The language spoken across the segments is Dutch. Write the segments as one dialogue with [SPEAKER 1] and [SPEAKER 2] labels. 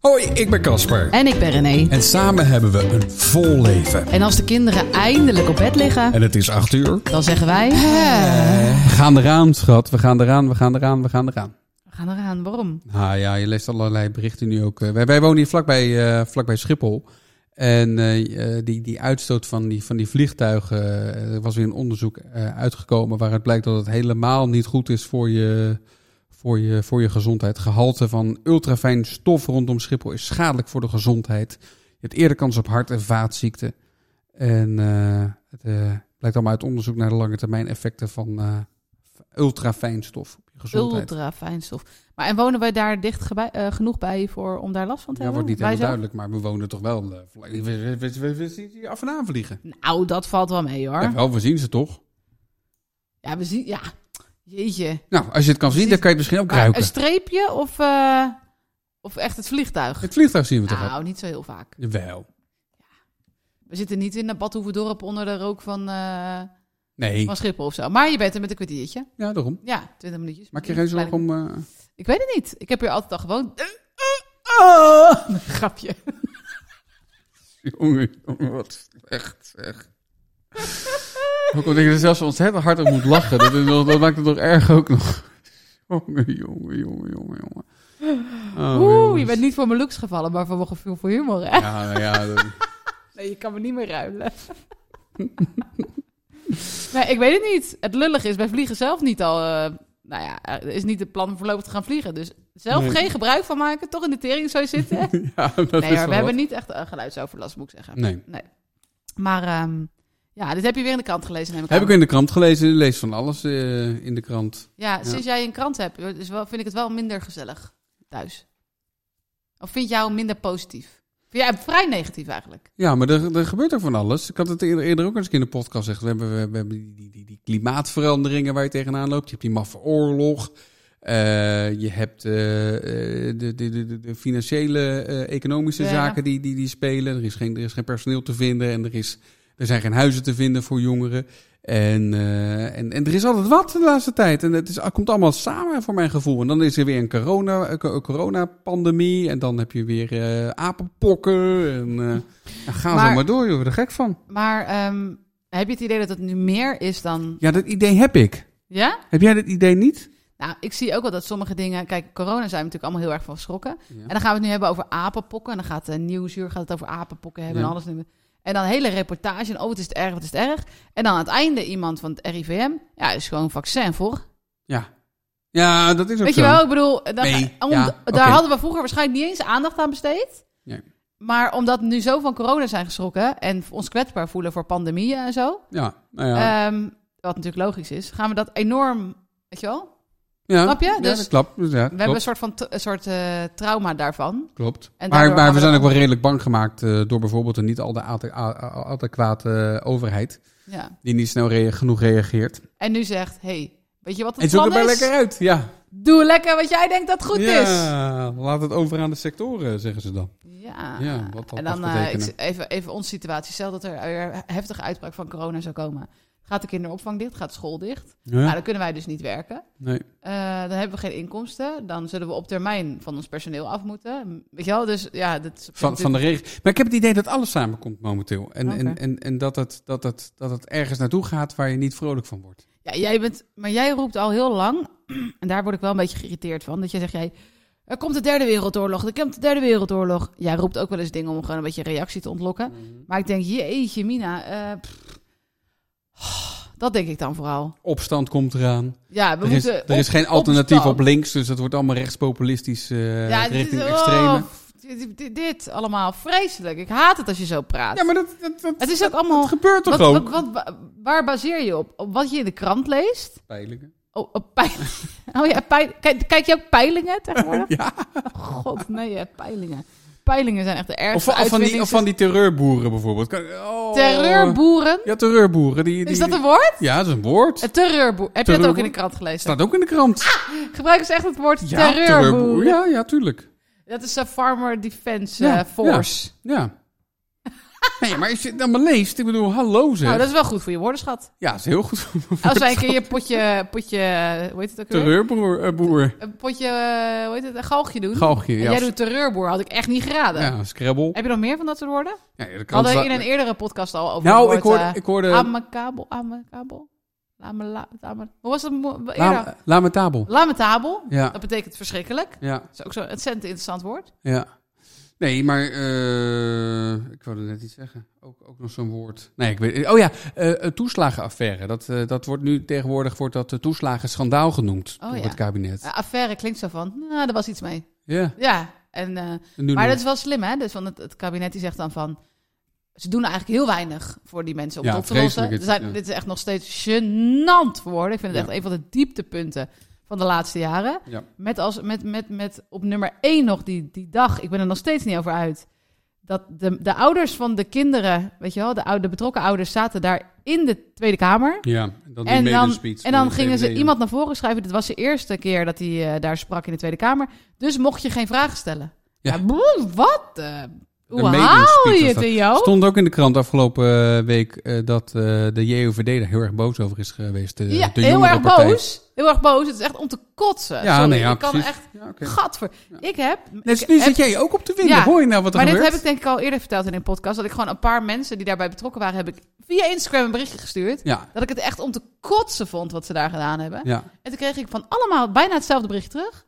[SPEAKER 1] Hoi, ik ben Casper.
[SPEAKER 2] En ik ben René.
[SPEAKER 1] En samen hebben we een vol leven.
[SPEAKER 2] En als de kinderen eindelijk op bed liggen,
[SPEAKER 1] En het is acht uur.
[SPEAKER 2] dan zeggen wij...
[SPEAKER 1] Eh, We gaan eraan, schat. We gaan eraan, we gaan eraan, we gaan eraan.
[SPEAKER 2] We gaan eraan, waarom?
[SPEAKER 1] Ah ja, je leest allerlei berichten nu ook. Eh, Wij, wij wonen hier vlakbij, eh, vlakbij Schiphol. En eh, eh, die, die uitstoot van die, van die vliegtuigen, eh, er was weer een onderzoek eh, uitgekomen waaruit blijkt dat het helemaal niet goed is voor je, voor je, voor je gezondheid. Gehalte van ultrafijn stof rondom Schiphol is schadelijk voor de gezondheid. Je hebt eerder kans op hart- en vaatziekten. En eh, het eh, blijkt allemaal uit onderzoek naar de lange termijn effecten van eh ultrafijn stof op je gezondheid.
[SPEAKER 2] Ultra fijn stof. Maar en wonen wij daar dicht gebe- eh, genoeg bij voor, om daar last van te
[SPEAKER 1] Ja,
[SPEAKER 2] hebben?
[SPEAKER 1] wordt niet
[SPEAKER 2] Wij
[SPEAKER 1] helemaal duidelijk, maar we wonen toch wel. eh, vlak- we, we, we, we- we zien die af en aan vliegen.
[SPEAKER 2] zelf? Nou, dat valt wel mee hoor.
[SPEAKER 1] Ja,
[SPEAKER 2] Ja,
[SPEAKER 1] wel, we zien ze toch?
[SPEAKER 2] we zien... Ja, jeetje.
[SPEAKER 1] Nou, als je het kan zien,
[SPEAKER 2] Precies.
[SPEAKER 1] dan kan je het misschien ook
[SPEAKER 2] Maar een
[SPEAKER 1] ruiken.
[SPEAKER 2] streepje of, eh, of echt het vliegtuig?
[SPEAKER 1] Het vliegtuig zien we toch al?
[SPEAKER 2] Nou, niet zo heel vaak.
[SPEAKER 1] Wel.
[SPEAKER 2] We zitten niet in een dorp onder de rook van, eh
[SPEAKER 1] Nee.
[SPEAKER 2] van Schiphol of zo. Maar je bent er met een kwartiertje.
[SPEAKER 1] Ja, daarom.
[SPEAKER 2] Ja, 20 minuutjes.
[SPEAKER 1] Maak je geen zorgen om... eh,
[SPEAKER 2] Ik weet het niet. Ik heb hier altijd al gewoond. Eh, eh, ah. Grapje.
[SPEAKER 1] eh, Jongen, jongen, wat slecht zeg. Ook omdat ik er zelfs ontzettend hard op moet lachen. Dat, is nog- dat maakt het nog erg ook nog. Jongen, jongen, jongen, jongen, jongen. Oh,
[SPEAKER 2] Oeh,
[SPEAKER 1] jongens.
[SPEAKER 2] je bent niet voor mijn looks gevallen, maar voor mijn gevoel voor humor, hè?
[SPEAKER 1] Ja, nou ja. dat-
[SPEAKER 2] Nee, je kan me niet meer ruilen. nee, ik weet het niet. Het lullige is, wij vliegen zelf niet al... eh, nou ja, er is niet het plan om voorlopig te gaan vliegen. Dus zelf
[SPEAKER 1] Nee.
[SPEAKER 2] geen gebruik van maken, toch in de tering zou je zitten.
[SPEAKER 1] ja, dat is
[SPEAKER 2] nee, maar
[SPEAKER 1] wel
[SPEAKER 2] we hebben
[SPEAKER 1] wat.
[SPEAKER 2] niet echt eh, geluidsoverlast, moet ik zeggen.
[SPEAKER 1] Nee.
[SPEAKER 2] Maar ehm, ja, dit heb je weer in de krant gelezen, neem ik
[SPEAKER 1] Heb
[SPEAKER 2] aan.
[SPEAKER 1] ik in de krant gelezen. Lees van alles eh, in de krant.
[SPEAKER 2] Ja, sinds jij een krant hebt, is wel, vind ik het wel minder gezellig thuis. Of vind jou minder positief? Vind jij vrij negatief eigenlijk?
[SPEAKER 1] Ja, maar er, er gebeurt ook van alles. Ik had het eerder, eerder ook eens een keer in de podcast gezegd. We hebben, we, we hebben die, die, die, die klimaatveranderingen waar je tegenaan loopt. Je hebt die maffe oorlog. Eh, je hebt eh, eh, de, de, de, de- de financiële, eh, economische
[SPEAKER 2] Ja.
[SPEAKER 1] zaken die, die, die spelen. Er is, geen, er is geen personeel te vinden en er, is, er zijn geen huizen te vinden voor jongeren. En, eh, en, en er is altijd wat de laatste tijd. En het, is, het komt allemaal samen voor mijn gevoel. En dan is er weer een corona, een co- coronapandemie. En dan heb je weer eh, apenpokken. En, eh, ja, ga
[SPEAKER 2] Maar-
[SPEAKER 1] zo maar door, joh. Daar gek van.
[SPEAKER 2] Maar ehm, heb je het idee dat het nu meer is dan...
[SPEAKER 1] Ja, dat idee heb ik.
[SPEAKER 2] Ja?
[SPEAKER 1] Heb jij dat idee niet?
[SPEAKER 2] Nou, ik zie ook wel dat sommige dingen... Kijk, corona zijn we natuurlijk allemaal heel erg van geschrokken. En
[SPEAKER 1] Ja.
[SPEAKER 2] dan gaan we het nu hebben over apenpokken. En dan gaat de Nieuwsuur gaat het over apenpokken hebben
[SPEAKER 1] Ja.
[SPEAKER 2] en alles. En dan een hele reportage. En oh, wat is het erg, wat is het erg. En dan aan het einde iemand van het RIVM. Ja, is gewoon een vaccin voor.
[SPEAKER 1] Ja, ja dat is ook
[SPEAKER 2] Weet
[SPEAKER 1] zo.
[SPEAKER 2] je wel, ik bedoel, dan-
[SPEAKER 1] Nee,
[SPEAKER 2] om-
[SPEAKER 1] ja,
[SPEAKER 2] daar
[SPEAKER 1] oké.
[SPEAKER 2] hadden we vroeger waarschijnlijk niet eens aandacht aan besteed.
[SPEAKER 1] Nee.
[SPEAKER 2] Maar omdat we nu zo van corona zijn geschrokken en ons kwetsbaar voelen voor pandemieën en zo,
[SPEAKER 1] Ja, nou ja.
[SPEAKER 2] ehm, wat natuurlijk logisch is, gaan we dat enorm, weet je wel?
[SPEAKER 1] ja.
[SPEAKER 2] snap je?
[SPEAKER 1] Ja,
[SPEAKER 2] Dus
[SPEAKER 1] dat klopt. Dus ja,
[SPEAKER 2] We
[SPEAKER 1] klopt.
[SPEAKER 2] hebben een soort van t- een soort eh, trauma daarvan.
[SPEAKER 1] Klopt.
[SPEAKER 2] En
[SPEAKER 1] maar
[SPEAKER 2] daardoor
[SPEAKER 1] maar
[SPEAKER 2] gaan
[SPEAKER 1] we
[SPEAKER 2] we
[SPEAKER 1] zijn
[SPEAKER 2] dan-
[SPEAKER 1] ook wel redelijk bang gemaakt eh, door bijvoorbeeld een niet al te ade- a- a- adequate eh, overheid.
[SPEAKER 2] Ja.
[SPEAKER 1] Die niet snel rea- genoeg reageert.
[SPEAKER 2] En nu zegt, hey, weet je wat het
[SPEAKER 1] en zoek
[SPEAKER 2] plan
[SPEAKER 1] er
[SPEAKER 2] is?
[SPEAKER 1] maar lekker uit. Ja.
[SPEAKER 2] Doe lekker wat jij denkt dat goed is.
[SPEAKER 1] ja, laat het over aan de sectoren, zeggen ze dan.
[SPEAKER 2] Ja.
[SPEAKER 1] Ja, wat dat
[SPEAKER 2] en dan
[SPEAKER 1] mag
[SPEAKER 2] eh,
[SPEAKER 1] betekenen.
[SPEAKER 2] ik- even, even onze situatie. Stel dat er weer heftige uitbraak van corona zou komen. Gaat de kinderopvang dicht? Gaat school dicht? Nou, dan kunnen wij dus niet werken.
[SPEAKER 1] Nee.
[SPEAKER 2] Eh, dan hebben we geen inkomsten. Dan zullen we op termijn van ons personeel af moeten. Weet je wel? Dus ja, dat is
[SPEAKER 1] Van, van de regio. Maar ik heb het idee dat alles samenkomt momenteel. En,
[SPEAKER 2] Oké.
[SPEAKER 1] en, en, en dat, het, dat, het, dat het ergens naartoe gaat waar je niet vrolijk van wordt.
[SPEAKER 2] Ja, jij bent, maar jij roept al heel lang, en daar word ik wel een beetje geïrriteerd van, dat jij zegt, jij, er komt de derde wereldoorlog, er komt de derde wereldoorlog. Jij roept ook wel eens dingen om gewoon een beetje reactie te ontlokken.
[SPEAKER 1] Mhm.
[SPEAKER 2] Maar ik denk, jeetje mina, eh, pff. Oh, dat denk ik dan vooral.
[SPEAKER 1] Opstand komt eraan.
[SPEAKER 2] Ja, we
[SPEAKER 1] er, is,
[SPEAKER 2] moeten...
[SPEAKER 1] er is
[SPEAKER 2] op-
[SPEAKER 1] geen alternatief
[SPEAKER 2] opstand.
[SPEAKER 1] op links, dus dat wordt allemaal rechtspopulistisch eh,
[SPEAKER 2] Ja, dit is-
[SPEAKER 1] richting
[SPEAKER 2] oh,
[SPEAKER 1] extreme.
[SPEAKER 2] dit, dit- dit allemaal, vreselijk. Ik haat het als je zo praat.
[SPEAKER 1] Ja, maar dat, dat, dat,
[SPEAKER 2] het is ook allemaal...
[SPEAKER 1] dat gebeurt toch
[SPEAKER 2] Wat,
[SPEAKER 1] ook?
[SPEAKER 2] wat, wat- wa- waar baseer je op? Op wat je in de krant leest?
[SPEAKER 1] Peilingen.
[SPEAKER 2] Oh, op peil- oh ja, peil- kijk, kijk je ook peilingen tegenwoordig?
[SPEAKER 1] Ja.
[SPEAKER 2] God, nee, hè, peilingen. Peilingen zijn echt de
[SPEAKER 1] Of,
[SPEAKER 2] ergste
[SPEAKER 1] of, van die, of
[SPEAKER 2] uitvindings-
[SPEAKER 1] van die terreurboeren bijvoorbeeld. Kan- oh.
[SPEAKER 2] Terreurboeren?
[SPEAKER 1] Ja, terreurboeren. Die, die,
[SPEAKER 2] Is dat een woord?
[SPEAKER 1] Ja, dat is een woord. Het
[SPEAKER 2] Een terreurboer. Heb je dat ook in de krant gelezen?
[SPEAKER 1] staat ook in de krant.
[SPEAKER 2] Gebruiken ze echt het woord
[SPEAKER 1] ja,
[SPEAKER 2] terreurboer?
[SPEAKER 1] Ja, ja, tuurlijk.
[SPEAKER 2] Dat is een Farmer Defense
[SPEAKER 1] Ja,
[SPEAKER 2] eh, Force.
[SPEAKER 1] Ja. Nee, maar als je het allemaal leest, ik bedoel, hallo zeg.
[SPEAKER 2] Nou, dat is wel goed voor je woordenschat.
[SPEAKER 1] Ja, dat is heel goed.
[SPEAKER 2] Als wij een keer je potje, potje, hoe heet het ook weer?
[SPEAKER 1] Terreurboer. eh, boer.
[SPEAKER 2] Een potje, eh, hoe heet het, een galgje doen.
[SPEAKER 1] Galgje,
[SPEAKER 2] En
[SPEAKER 1] ja.
[SPEAKER 2] jij doet terreurboer, had ik echt niet geraden.
[SPEAKER 1] Ja, Scrabble.
[SPEAKER 2] Heb je nog meer van dat soort woorden?
[SPEAKER 1] Ja, dat
[SPEAKER 2] We
[SPEAKER 1] kan
[SPEAKER 2] hadden in een eerdere podcast al over het
[SPEAKER 1] Nou,
[SPEAKER 2] woord,
[SPEAKER 1] ik hoorde...
[SPEAKER 2] eh,
[SPEAKER 1] Ik hoorde
[SPEAKER 2] Amicabel, amicabel. Lamela- lame- Hoe was dat mo- eerder?
[SPEAKER 1] la, lamentabel.
[SPEAKER 2] Lamentabel.
[SPEAKER 1] Ja,
[SPEAKER 2] Dat betekent verschrikkelijk.
[SPEAKER 1] ja,
[SPEAKER 2] Dat is ook zo'n ontzettend interessant woord.
[SPEAKER 1] ja. Nee, maar eh, ik wilde net iets zeggen. Ook, ook nog zo'n woord. Nee, ik weet Oh ja, eh, eh, toeslagenaffaire. Dat, eh, dat wordt nu tegenwoordig wordt dat eh, toeslagenschandaal genoemd
[SPEAKER 2] Oh,
[SPEAKER 1] door
[SPEAKER 2] ja.
[SPEAKER 1] het kabinet.
[SPEAKER 2] Eh, affaire klinkt zo van, nou, daar was iets mee.
[SPEAKER 1] Ja.
[SPEAKER 2] Ja, en, eh,
[SPEAKER 1] nu
[SPEAKER 2] maar
[SPEAKER 1] nog.
[SPEAKER 2] dat is wel slim, hè? Dus van het, het kabinet die zegt dan van... Ze doen eigenlijk heel weinig voor die mensen om
[SPEAKER 1] Ja,
[SPEAKER 2] het op te lossen.
[SPEAKER 1] vreselijk is
[SPEAKER 2] Er zijn-
[SPEAKER 1] het, ja.
[SPEAKER 2] Dit is echt nog steeds gênant voor woorden. Ik vind het
[SPEAKER 1] Ja.
[SPEAKER 2] echt een van de dieptepunten van de laatste jaren.
[SPEAKER 1] Ja.
[SPEAKER 2] Met, als, met, met, met op nummer één nog die, die dag, ik ben er nog steeds niet over uit. Dat de, de ouders van de kinderen, weet je wel, de, oude, de betrokken ouders zaten daar in de Tweede Kamer.
[SPEAKER 1] Ja, en dan,
[SPEAKER 2] En
[SPEAKER 1] die
[SPEAKER 2] dan-
[SPEAKER 1] medespeech
[SPEAKER 2] En
[SPEAKER 1] van
[SPEAKER 2] dan
[SPEAKER 1] de
[SPEAKER 2] gingen ze
[SPEAKER 1] VVD.
[SPEAKER 2] iemand naar voren schrijven. Dit was de eerste keer dat hij eh, daar sprak in de Tweede Kamer. Dus mocht je geen vragen stellen.
[SPEAKER 1] Ja.
[SPEAKER 2] Ja, broer, wat? eh, hoe
[SPEAKER 1] Een
[SPEAKER 2] haal
[SPEAKER 1] medespeech
[SPEAKER 2] je
[SPEAKER 1] was
[SPEAKER 2] het
[SPEAKER 1] dat.
[SPEAKER 2] in jou?
[SPEAKER 1] Stond ook in de krant afgelopen eh, week eh, dat eh, de JOVD daar heel erg boos over is geweest. De,
[SPEAKER 2] Ja,
[SPEAKER 1] de
[SPEAKER 2] heel erg
[SPEAKER 1] jongerenpartij.
[SPEAKER 2] boos. Heel erg boos. Het is echt om te kotsen.
[SPEAKER 1] Ja,
[SPEAKER 2] Sorry,
[SPEAKER 1] nee, ja,
[SPEAKER 2] ik kan
[SPEAKER 1] precies.
[SPEAKER 2] echt
[SPEAKER 1] Ja, oké.
[SPEAKER 2] gatver. Ik heb...
[SPEAKER 1] Dus
[SPEAKER 2] ik
[SPEAKER 1] nu
[SPEAKER 2] heb-
[SPEAKER 1] zit jij ook op te winden.
[SPEAKER 2] Ja,
[SPEAKER 1] Hoor je nou wat er
[SPEAKER 2] maar dit
[SPEAKER 1] gebeurt?
[SPEAKER 2] heb ik denk ik al eerder verteld in een podcast. Dat ik gewoon een paar mensen die daarbij betrokken waren, heb ik via Instagram een berichtje gestuurd.
[SPEAKER 1] Ja,
[SPEAKER 2] Dat ik het echt om te kotsen vond wat ze daar gedaan hebben.
[SPEAKER 1] ja.
[SPEAKER 2] En toen kreeg ik van allemaal bijna hetzelfde bericht terug.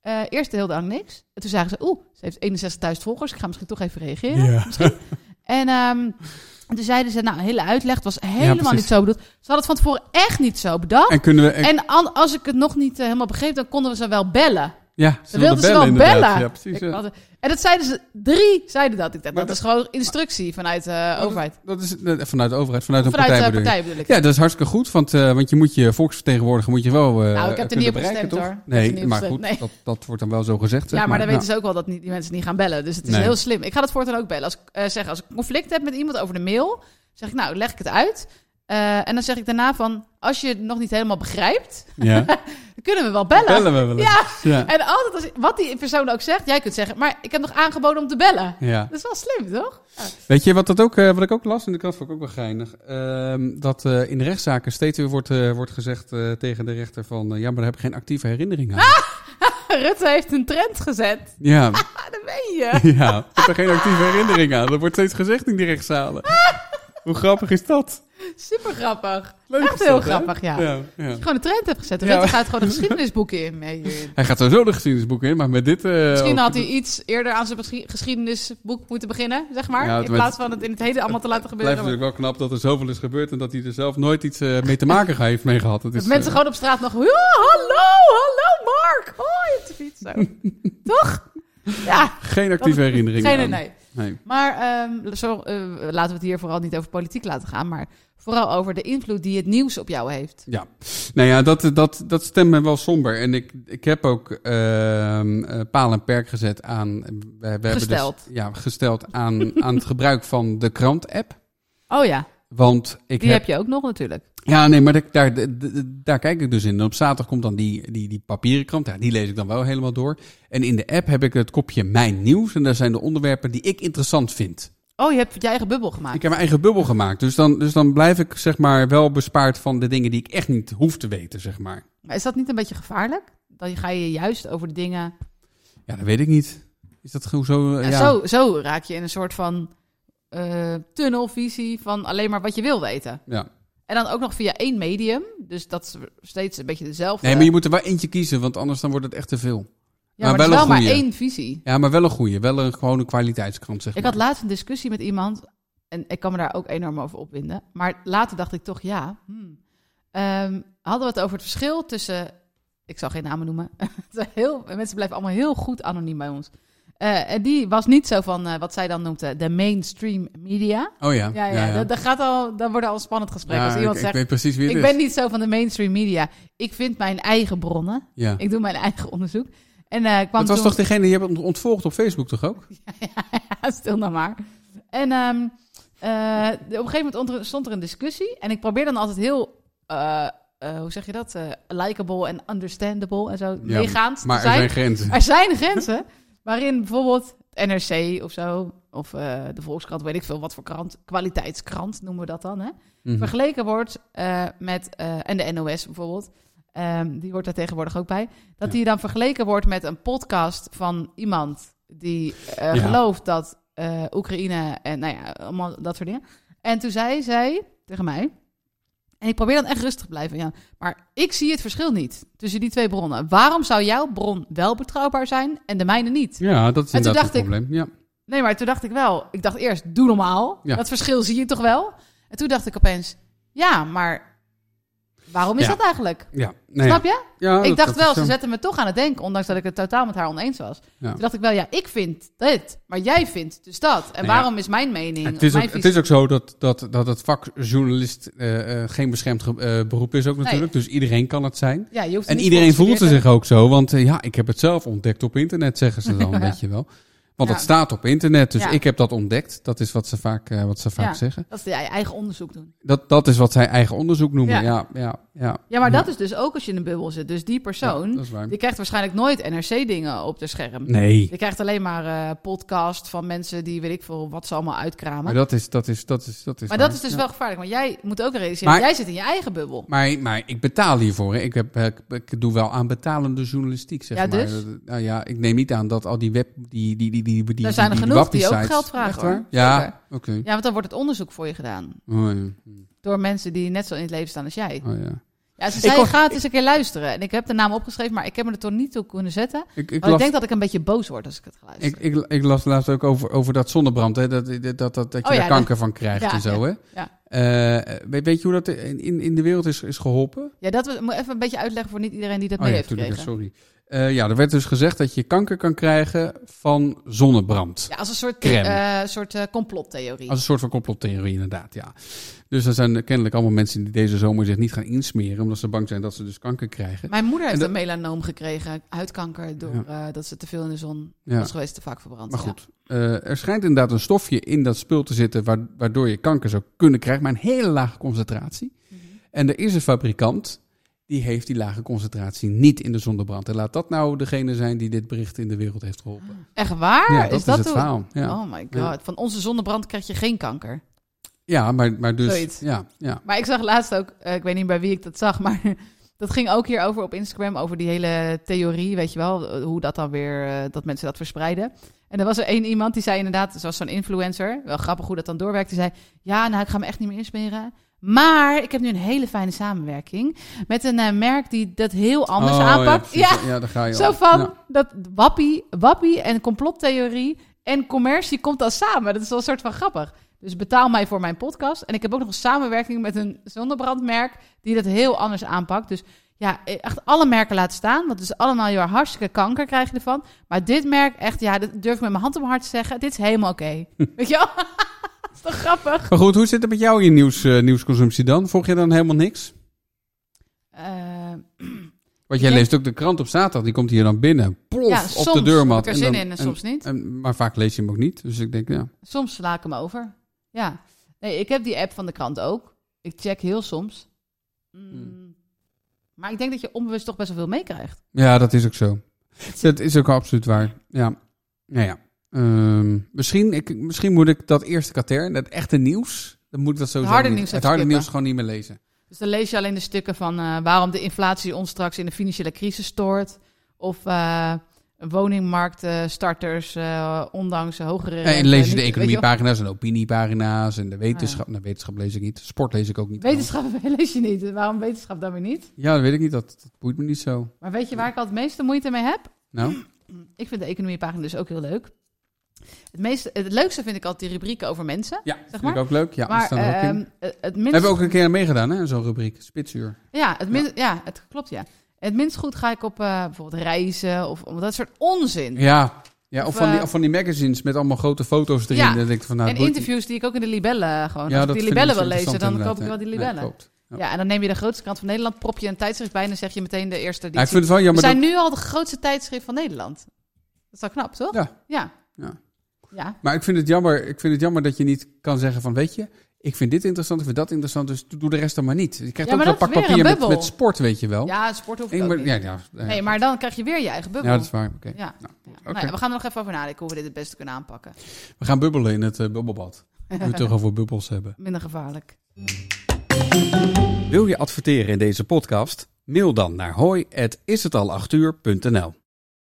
[SPEAKER 2] Eh, eerst heel lang niks. En toen zagen ze, oeh, ze heeft 61.000 volgers. Ik ga misschien toch even reageren. En ehm, toen zeiden ze, nou, een hele uitleg. Het was helemaal
[SPEAKER 1] precies.
[SPEAKER 2] niet zo bedoeld. Ze hadden het van tevoren echt niet zo bedacht. En,
[SPEAKER 1] En kunnen we... En,
[SPEAKER 2] an- als ik het nog niet eh, helemaal begreep, dan konden we ze wel bellen.
[SPEAKER 1] ja, ze
[SPEAKER 2] Ze wilden ze wel
[SPEAKER 1] inderdaad.
[SPEAKER 2] bellen.
[SPEAKER 1] Ja, precies.
[SPEAKER 2] Ik
[SPEAKER 1] ja.
[SPEAKER 2] had- en dat zeiden ze, drie zeiden dat. Ik dacht,
[SPEAKER 1] Maar Oh,
[SPEAKER 2] dat, is gewoon instructie vanuit de
[SPEAKER 1] dat-
[SPEAKER 2] overheid.
[SPEAKER 1] Dat is eh, vanuit de overheid, vanuit een
[SPEAKER 2] Vanuit de
[SPEAKER 1] partij,
[SPEAKER 2] partij,
[SPEAKER 1] bedoel je?
[SPEAKER 2] bedoel ik.
[SPEAKER 1] Ja, dat is hartstikke goed, want, eh, want je moet je volksvertegenwoordiger moet je wel eh,
[SPEAKER 2] Nou, ik heb er
[SPEAKER 1] kunnen
[SPEAKER 2] niet op
[SPEAKER 1] bereiken,
[SPEAKER 2] gestemd,
[SPEAKER 1] toch?
[SPEAKER 2] hoor. Ik heb er niet
[SPEAKER 1] Nee,
[SPEAKER 2] op
[SPEAKER 1] maar
[SPEAKER 2] gestemd,
[SPEAKER 1] goed,
[SPEAKER 2] nee.
[SPEAKER 1] dat, dat wordt dan wel zo gezegd. zeg
[SPEAKER 2] Ja, maar dan weten
[SPEAKER 1] Nou,
[SPEAKER 2] ze ook wel dat niet, die mensen niet gaan bellen. Dus het is
[SPEAKER 1] Nee.
[SPEAKER 2] heel slim. Ik ga dat voortaan ook bellen. Als ik eh, zeg, als ik een conflict heb met iemand over de mail, zeg ik, nou, leg ik het uit. Eh, en dan zeg ik daarna van, als je het nog niet helemaal begrijpt,
[SPEAKER 1] Ja,
[SPEAKER 2] dan kunnen we wel bellen.
[SPEAKER 1] bellen we wel eens.
[SPEAKER 2] Ja.
[SPEAKER 1] Ja.
[SPEAKER 2] En altijd als, wat die persoon ook zegt, jij kunt zeggen, maar ik heb nog aangeboden om te bellen.
[SPEAKER 1] ja.
[SPEAKER 2] Dat is wel slim, toch?
[SPEAKER 1] Weet je wat, dat ook, eh, wat ik ook las in de krant, vond ik ook wel geinig. Ehm, dat eh, in rechtszaken steeds weer wordt, eh, wordt gezegd eh, tegen de rechter van... eh, ja, maar daar heb ik geen actieve herinnering aan.
[SPEAKER 2] Ah! Rutte heeft een trend gezet.
[SPEAKER 1] Ja,
[SPEAKER 2] Ah, dat ben je.
[SPEAKER 1] ja, ik heb er geen actieve herinnering aan. Dat wordt steeds gezegd in die rechtszalen.
[SPEAKER 2] Ah!
[SPEAKER 1] Hoe grappig is dat?
[SPEAKER 2] Super grappig.
[SPEAKER 1] Leuk
[SPEAKER 2] Echt
[SPEAKER 1] is dat,
[SPEAKER 2] heel
[SPEAKER 1] hè?
[SPEAKER 2] grappig, ja.
[SPEAKER 1] Ja, ja.
[SPEAKER 2] Gewoon een trend hebt gezet.
[SPEAKER 1] Ja.
[SPEAKER 2] Rutte gaat gewoon de geschiedenisboeken in. mee hierin.
[SPEAKER 1] Hij gaat sowieso de geschiedenisboeken in, maar met dit... eh,
[SPEAKER 2] Misschien
[SPEAKER 1] ook-
[SPEAKER 2] had hij iets eerder aan zijn beschie- geschiedenisboek moeten beginnen, zeg maar.
[SPEAKER 1] Ja, het
[SPEAKER 2] in
[SPEAKER 1] werd-
[SPEAKER 2] plaats van het in het heden allemaal te laten
[SPEAKER 1] blijft
[SPEAKER 2] gebeuren.
[SPEAKER 1] natuurlijk wel knap dat er zoveel is gebeurd... en dat hij er zelf nooit iets eh, mee te maken heeft mee gehad. Dat
[SPEAKER 2] Dat
[SPEAKER 1] is,
[SPEAKER 2] mensen
[SPEAKER 1] eh,
[SPEAKER 2] gewoon op straat nog... "Ja, hallo, hallo Mark! Hoi, op de fiets. Zo. Toch? Ja.
[SPEAKER 1] geen actieve herinnering
[SPEAKER 2] Geen,
[SPEAKER 1] aan.
[SPEAKER 2] nee.
[SPEAKER 1] nee. maar
[SPEAKER 2] Maar ehm, zo, eh, laten we het hier vooral niet over politiek laten gaan. Maar vooral over de invloed die het nieuws op jou heeft.
[SPEAKER 1] Ja, nou ja, dat, dat, dat stemt me wel somber. En ik, ik heb ook ehm, eh, paal en perk gezet aan... We, we hebben dus-
[SPEAKER 2] Gesteld.
[SPEAKER 1] ja, gesteld aan, aan het gebruik van de krant-app.
[SPEAKER 2] Oh ja,
[SPEAKER 1] Want ik
[SPEAKER 2] die
[SPEAKER 1] heb
[SPEAKER 2] heb je ook nog natuurlijk.
[SPEAKER 1] Ja, nee, maar daar, daar, daar- daar kijk ik dus in. En op zaterdag komt dan die, die, die papieren krant. Ja, die lees ik dan wel helemaal door. En in de app heb ik het kopje Mijn Nieuws. En daar zijn de onderwerpen die ik interessant vind.
[SPEAKER 2] Oh, je hebt je eigen bubbel gemaakt.
[SPEAKER 1] Ik heb mijn eigen bubbel gemaakt. Dus dan, dus dan blijf ik zeg maar wel bespaard van de dingen die ik echt niet hoef te weten, zeg maar.
[SPEAKER 2] Maar is dat niet een beetje gevaarlijk? Dan ga je juist over de dingen...
[SPEAKER 1] Ja, dat weet ik niet. Is dat gewoon zo? eh,
[SPEAKER 2] Ja,
[SPEAKER 1] Ja,
[SPEAKER 2] Zo, zo raak je in een soort van eh, tunnelvisie van alleen maar wat je wil weten.
[SPEAKER 1] Ja.
[SPEAKER 2] En dan ook nog via één medium. Dus dat is steeds een beetje dezelfde.
[SPEAKER 1] Nee, maar je moet er wel eenttie kiezen, want anders dan wordt het echt te veel.
[SPEAKER 2] ja, maar
[SPEAKER 1] maar
[SPEAKER 2] het
[SPEAKER 1] wel
[SPEAKER 2] is wel
[SPEAKER 1] een
[SPEAKER 2] maar
[SPEAKER 1] goeie.
[SPEAKER 2] één visie.
[SPEAKER 1] Ja, maar wel een goede. Wel een gewone kwaliteitskrant, zeg
[SPEAKER 2] Ik
[SPEAKER 1] maar.
[SPEAKER 2] had laatst een discussie met iemand. En ik kan me daar ook enorm over opwinden. Maar later dacht ik toch, ja. hmm. Ehm, hadden we het over het verschil tussen. Ik zal geen namen noemen. Het zijn heel, mensen blijven allemaal heel goed anoniem bij ons. Eh, en die was niet zo van eh, wat zij dan noemde de mainstream media.
[SPEAKER 1] Oh ja.
[SPEAKER 2] Ja, ja, Dat, dat gaat al, dat wordt al een spannend gesprek.
[SPEAKER 1] Ja,
[SPEAKER 2] als iemand
[SPEAKER 1] ik, ik
[SPEAKER 2] zegt,
[SPEAKER 1] weet precies wie
[SPEAKER 2] ik,
[SPEAKER 1] het is.
[SPEAKER 2] ben niet zo van de mainstream media. Ik vind mijn eigen bronnen.
[SPEAKER 1] Ja.
[SPEAKER 2] Ik doe mijn eigen onderzoek. En eh kwam
[SPEAKER 1] Dat was
[SPEAKER 2] toen...
[SPEAKER 1] toch degene die je hebt ontvolgd op Facebook, toch ook?
[SPEAKER 2] Ja, stil nou maar. En ehm, eh, op een gegeven moment onder- stond er een discussie. En ik probeer dan altijd heel, eh, eh, hoe zeg je dat? eh likable en understandable en zo meegaand te
[SPEAKER 1] Maar er
[SPEAKER 2] zijn.
[SPEAKER 1] zijn grenzen.
[SPEAKER 2] Er zijn grenzen waarin bijvoorbeeld het NRC of zo, of eh, de Volkskrant, weet ik veel wat voor krant, kwaliteitskrant noemen we dat dan, hè?
[SPEAKER 1] Mhm.
[SPEAKER 2] vergeleken wordt eh, met, eh, en de NOS bijvoorbeeld, ehm, die hoort daar tegenwoordig ook bij, dat
[SPEAKER 1] Ja.
[SPEAKER 2] die dan vergeleken wordt met een podcast van iemand die eh,
[SPEAKER 1] Ja.
[SPEAKER 2] gelooft dat eh, Oekraïne en nou ja, allemaal dat soort dingen. En toen zei zij tegen mij, en ik probeer dan echt rustig te blijven, ja, maar ik zie het verschil niet tussen die twee bronnen. Waarom zou jouw bron wel betrouwbaar zijn en de mijne niet?
[SPEAKER 1] Ja, dat is
[SPEAKER 2] En toen
[SPEAKER 1] inderdaad een
[SPEAKER 2] dacht ik-
[SPEAKER 1] probleem. Ja.
[SPEAKER 2] Nee, maar toen dacht ik wel. Ik dacht eerst, doe normaal.
[SPEAKER 1] Ja.
[SPEAKER 2] Dat verschil zie je toch wel? En toen dacht ik opeens, ja, maar waarom is
[SPEAKER 1] Ja.
[SPEAKER 2] dat eigenlijk?
[SPEAKER 1] Ja. Nee,
[SPEAKER 2] Snap je?
[SPEAKER 1] ja, dat-
[SPEAKER 2] ik dacht
[SPEAKER 1] dat
[SPEAKER 2] wel,
[SPEAKER 1] is,
[SPEAKER 2] ze
[SPEAKER 1] eh,
[SPEAKER 2] zetten me toch aan het denken, ondanks dat ik het totaal met haar oneens was.
[SPEAKER 1] Ja.
[SPEAKER 2] Toen dacht ik wel, ja, ik vind dit, maar jij vindt dus dat. En
[SPEAKER 1] ja.
[SPEAKER 2] waarom is mijn mening?
[SPEAKER 1] Het is,
[SPEAKER 2] of mijn
[SPEAKER 1] ook, het
[SPEAKER 2] visie-
[SPEAKER 1] is ook zo dat, dat, dat het vak journalist eh, eh, geen beschermd ge- eh, beroep is ook natuurlijk. Dus iedereen kan het zijn.
[SPEAKER 2] ja, je hoeft er
[SPEAKER 1] En
[SPEAKER 2] niet
[SPEAKER 1] iedereen
[SPEAKER 2] voor te
[SPEAKER 1] voelt ze
[SPEAKER 2] studeren.
[SPEAKER 1] zich ook zo, want eh, ja, ik heb het zelf ontdekt op internet, zeggen ze dan,
[SPEAKER 2] Ja.
[SPEAKER 1] weet je wel. Want
[SPEAKER 2] Ja.
[SPEAKER 1] het staat op internet, dus
[SPEAKER 2] Ja.
[SPEAKER 1] ik heb dat ontdekt. Dat is wat ze vaak, eh, wat ze vaak
[SPEAKER 2] Ja.
[SPEAKER 1] zeggen.
[SPEAKER 2] Dat is je eigen onderzoek doen.
[SPEAKER 1] Dat, dat is wat zij eigen onderzoek noemen. Ja,
[SPEAKER 2] Ja.
[SPEAKER 1] ja, ja. ja.
[SPEAKER 2] Ja, maar dat is dus ook als je in een bubbel zit. Dus die persoon,
[SPEAKER 1] Ja, dat is waar.
[SPEAKER 2] die krijgt waarschijnlijk nooit NRC-dingen op de scherm.
[SPEAKER 1] Nee,
[SPEAKER 2] Je krijgt alleen maar eh, podcast van mensen die weet ik veel wat ze allemaal uitkramen.
[SPEAKER 1] maar
[SPEAKER 2] Maar
[SPEAKER 1] dat is, dat is, dat is, dat is.
[SPEAKER 2] dat,
[SPEAKER 1] waar.
[SPEAKER 2] is dus
[SPEAKER 1] Ja.
[SPEAKER 2] wel gevaarlijk. Want jij moet ook realiseren,
[SPEAKER 1] Maar-
[SPEAKER 2] jij zit in je eigen bubbel.
[SPEAKER 1] Maar, maar ik betaal hiervoor. Hè. Ik, heb, eh, ik, ik doe wel aan betalende journalistiek, zeg
[SPEAKER 2] Ja,
[SPEAKER 1] maar.
[SPEAKER 2] dus?
[SPEAKER 1] Eh, Nou ja, ik neem niet aan dat al die web... Die, die, die, die, die, die
[SPEAKER 2] er zijn er
[SPEAKER 1] die- die
[SPEAKER 2] genoeg die ook
[SPEAKER 1] wappie-sites-
[SPEAKER 2] geld vragen.
[SPEAKER 1] Echt
[SPEAKER 2] hoor.
[SPEAKER 1] waar? Ja,
[SPEAKER 2] Zeker.
[SPEAKER 1] oké.
[SPEAKER 2] Ja, want dan wordt het onderzoek voor je gedaan.
[SPEAKER 1] Oh, ja.
[SPEAKER 2] Door mensen die net zo in het leven staan als jij.
[SPEAKER 1] Oh, ja.
[SPEAKER 2] Ja, ze zei,
[SPEAKER 1] hoor-
[SPEAKER 2] ga het eens een keer luisteren. En ik heb de naam opgeschreven, maar ik heb me er toch niet toe kunnen zetten.
[SPEAKER 1] Ik, ik,
[SPEAKER 2] Ik, want ik
[SPEAKER 1] las,
[SPEAKER 2] denk dat ik een beetje boos word als ik het ga
[SPEAKER 1] ik,
[SPEAKER 2] luisteren.
[SPEAKER 1] ik, ik las laatst ook over, over dat zonnebrand. Hè. Dat, dat, dat, dat, dat je
[SPEAKER 2] Oh, ja,
[SPEAKER 1] daar kanker van krijgt
[SPEAKER 2] Ja,
[SPEAKER 1] en zo. Hè.
[SPEAKER 2] ja.
[SPEAKER 1] Eh, weet, weet je hoe dat in, in, in de wereld is, is geholpen?
[SPEAKER 2] Ja, dat we- moet even een beetje uitleggen voor niet iedereen die dat
[SPEAKER 1] Oh
[SPEAKER 2] mee
[SPEAKER 1] ja,
[SPEAKER 2] heeft
[SPEAKER 1] tuurlijk, ja,
[SPEAKER 2] gekregen.
[SPEAKER 1] sorry. Eh, ja, er werd dus gezegd dat je kanker kan krijgen van zonnebrand.
[SPEAKER 2] Ja, als een soort,
[SPEAKER 1] Crème.
[SPEAKER 2] eh, soort eh, complottheorie.
[SPEAKER 1] Als een soort van complottheorie, inderdaad, ja. Dus er zijn kennelijk allemaal mensen die deze zomer zich niet gaan insmeren... omdat ze bang zijn dat ze dus kanker krijgen.
[SPEAKER 2] Mijn moeder heeft
[SPEAKER 1] En
[SPEAKER 2] een melanoom gekregen, huidkanker, door eh, dat ze te veel in de zon
[SPEAKER 1] Ja.
[SPEAKER 2] was geweest, te vaak verbrand.
[SPEAKER 1] Maar
[SPEAKER 2] ja.
[SPEAKER 1] goed, eh, er schijnt inderdaad een stofje in dat spul te zitten... waar- waardoor je kanker zou kunnen krijgen, maar een hele lage concentratie.
[SPEAKER 2] Mhm.
[SPEAKER 1] En er is een fabrikant die heeft die lage concentratie niet in de zonnebrand. En laat dat nou degene zijn die dit bericht in de wereld heeft geholpen.
[SPEAKER 2] Echt waar?
[SPEAKER 1] ja, dat is, het
[SPEAKER 2] Ah, hoe-
[SPEAKER 1] verhaal. Ja,
[SPEAKER 2] Oh my god,
[SPEAKER 1] Ja.
[SPEAKER 2] van onze zonnebrand krijg je geen kanker.
[SPEAKER 1] ja maar, maar dus...
[SPEAKER 2] Zoiets.
[SPEAKER 1] Ja, ja.
[SPEAKER 2] Maar ik zag laatst ook, eh, ik weet niet bij wie ik dat zag, maar dat ging ook hierover op Instagram, over die hele theorie, weet je wel, eh, hoe dat dan weer, eh, dat mensen dat verspreiden. En er was er één iemand die zei inderdaad, zoals zo'n influencer, wel grappig hoe dat dan doorwerkt, die zei, ja, nou, ik ga me echt niet meer insmeren. Maar ik heb nu een hele fijne samenwerking met een eh, merk die dat heel anders
[SPEAKER 1] Oh,
[SPEAKER 2] aanpakt.
[SPEAKER 1] precies.
[SPEAKER 2] ja,
[SPEAKER 1] ja, daar ga je
[SPEAKER 2] Zo
[SPEAKER 1] al.
[SPEAKER 2] van,
[SPEAKER 1] Ja.
[SPEAKER 2] dat wappie, wappie en complottheorie en commercie komt dan samen. Dat is wel een soort van grappig. Dus betaal mij voor mijn podcast. En ik heb ook nog een samenwerking met een zonnebrandmerk die dat heel anders aanpakt. Dus ja, echt alle merken laten staan. Want dus allemaal heel erg hartstikke kanker krijg je ervan. Maar dit merk, echt, ja, dat durf ik met mijn hand op mijn hart te zeggen. Dit is helemaal oké. Weet je wel? dat is toch grappig?
[SPEAKER 1] Maar goed, hoe zit het met jou in je nieuws, eh, nieuwsconsumptie dan? Volg je dan helemaal niks?
[SPEAKER 2] Eh,
[SPEAKER 1] Want jij
[SPEAKER 2] Ik denk-
[SPEAKER 1] leest ook de krant op zaterdag, die komt hier dan binnen. Plof,
[SPEAKER 2] ja,
[SPEAKER 1] op
[SPEAKER 2] soms
[SPEAKER 1] de deurmat.
[SPEAKER 2] heb ik er
[SPEAKER 1] En dan-
[SPEAKER 2] zin in en
[SPEAKER 1] en-
[SPEAKER 2] soms niet.
[SPEAKER 1] en- maar vaak lees je hem ook niet. Dus ik denk, ja.
[SPEAKER 2] Soms sla ik hem over. Ja. Nee, ik heb die app van de krant ook. Ik check heel soms. Mm.
[SPEAKER 1] Hmm.
[SPEAKER 2] Maar ik denk dat je onbewust toch best wel veel meekrijgt.
[SPEAKER 1] ja, dat is ook zo. Dat is ook absoluut waar. Ja. Nou ja. Ehm, misschien, ik, misschien moet ik dat eerste kater, dat echte nieuws, dan moet ik dat sowieso
[SPEAKER 2] harde
[SPEAKER 1] niet-
[SPEAKER 2] nieuws
[SPEAKER 1] het
[SPEAKER 2] even
[SPEAKER 1] harde
[SPEAKER 2] skippen.
[SPEAKER 1] nieuws gewoon niet meer lezen.
[SPEAKER 2] Dus dan lees je alleen de stukken van eh, waarom de inflatie ons straks in de financiële crisis stoort. Of eh woningmarktstarters, ondanks hogere.
[SPEAKER 1] en
[SPEAKER 2] rente,
[SPEAKER 1] lees je
[SPEAKER 2] Eh, niet-
[SPEAKER 1] de
[SPEAKER 2] weet wel.
[SPEAKER 1] economiepagina's en de opiniepagina's en de wetenschap. Nou, wetenschap lees ik niet. Sport lees ik ook niet. Oh,
[SPEAKER 2] Wetenschap lees je niet. Waarom wetenschap dan weer niet?
[SPEAKER 1] Ja, dat weet ik niet. Dat, dat boeit me niet zo.
[SPEAKER 2] Maar weet je waar ik al het meeste moeite mee heb?
[SPEAKER 1] Nou?
[SPEAKER 2] Ik vind de economiepagina dus ook heel leuk. Het, meeste, het leukste vind ik altijd die rubrieken over mensen.
[SPEAKER 1] Ja,
[SPEAKER 2] Zeg
[SPEAKER 1] vind
[SPEAKER 2] maar.
[SPEAKER 1] ik ook leuk. Ja, die
[SPEAKER 2] maar
[SPEAKER 1] staan er ook in.
[SPEAKER 2] ehm, het- het
[SPEAKER 1] We
[SPEAKER 2] minst
[SPEAKER 1] hebben ook een keer aan meegedaan, hè, zo'n rubriek. Spitsuur.
[SPEAKER 2] Ja, het minst, ja. het klopt, ja. Het minst goed ga ik op eh, bijvoorbeeld reizen of om dat soort onzin.
[SPEAKER 1] Ja, ja of,
[SPEAKER 2] Of,
[SPEAKER 1] van die,
[SPEAKER 2] eh,
[SPEAKER 1] of van die magazines met allemaal grote foto's erin.
[SPEAKER 2] Ja,
[SPEAKER 1] Dan denk ik van, nou,
[SPEAKER 2] en
[SPEAKER 1] boeit-
[SPEAKER 2] interviews die ik ook in de libellen eh, gewoon.
[SPEAKER 1] Ja,
[SPEAKER 2] Als ik
[SPEAKER 1] dat
[SPEAKER 2] Oh, die
[SPEAKER 1] vind
[SPEAKER 2] libellen
[SPEAKER 1] zo
[SPEAKER 2] wil lezen,
[SPEAKER 1] interessant
[SPEAKER 2] dan koop ik wel
[SPEAKER 1] inderdaad,
[SPEAKER 2] die
[SPEAKER 1] hè.
[SPEAKER 2] libellen.
[SPEAKER 1] Nee, klopt. Ja.
[SPEAKER 2] ja, en dan neem je de grootste krant van Nederland, prop je een tijdschrift bij en dan zeg je meteen de eerste
[SPEAKER 1] Ja, ik
[SPEAKER 2] editie.
[SPEAKER 1] vind het wel
[SPEAKER 2] We
[SPEAKER 1] jammer
[SPEAKER 2] zijn
[SPEAKER 1] dat...
[SPEAKER 2] nu al de grootste tijdschrift van Nederland. Dat is wel knap, toch?
[SPEAKER 1] Ja.
[SPEAKER 2] Ja.
[SPEAKER 1] Ja.
[SPEAKER 2] Ja.
[SPEAKER 1] Maar ik vind, het jammer, ik vind het jammer dat je niet kan zeggen van, weet je, ik vind dit interessant, ik vind dat interessant, dus doe de rest dan maar niet. Je krijgt
[SPEAKER 2] Ja,
[SPEAKER 1] ook
[SPEAKER 2] maar
[SPEAKER 1] zo'n pak
[SPEAKER 2] dat is weer
[SPEAKER 1] papier
[SPEAKER 2] een
[SPEAKER 1] met,
[SPEAKER 2] bubbel.
[SPEAKER 1] met sport, weet je wel.
[SPEAKER 2] ja, sport hoef
[SPEAKER 1] Oh.
[SPEAKER 2] ik
[SPEAKER 1] Ik
[SPEAKER 2] ook
[SPEAKER 1] ben-
[SPEAKER 2] niet.
[SPEAKER 1] ja, ja, ja.
[SPEAKER 2] Nee, maar dan krijg je weer je eigen bubbel.
[SPEAKER 1] ja, dat is waar. Oké.
[SPEAKER 2] Ja.
[SPEAKER 1] Nou,
[SPEAKER 2] Ja.
[SPEAKER 1] Oké,
[SPEAKER 2] Nou ja, we gaan er nog even over nadenken hoe we dit het beste kunnen aanpakken.
[SPEAKER 1] We gaan bubbelen in het eh, bubbelbad. We moeten het toch over bubbels hebben.
[SPEAKER 2] Minder gevaarlijk.
[SPEAKER 1] Wil je adverteren in deze podcast? Mail dan naar hoi@ishetal8uur.nl.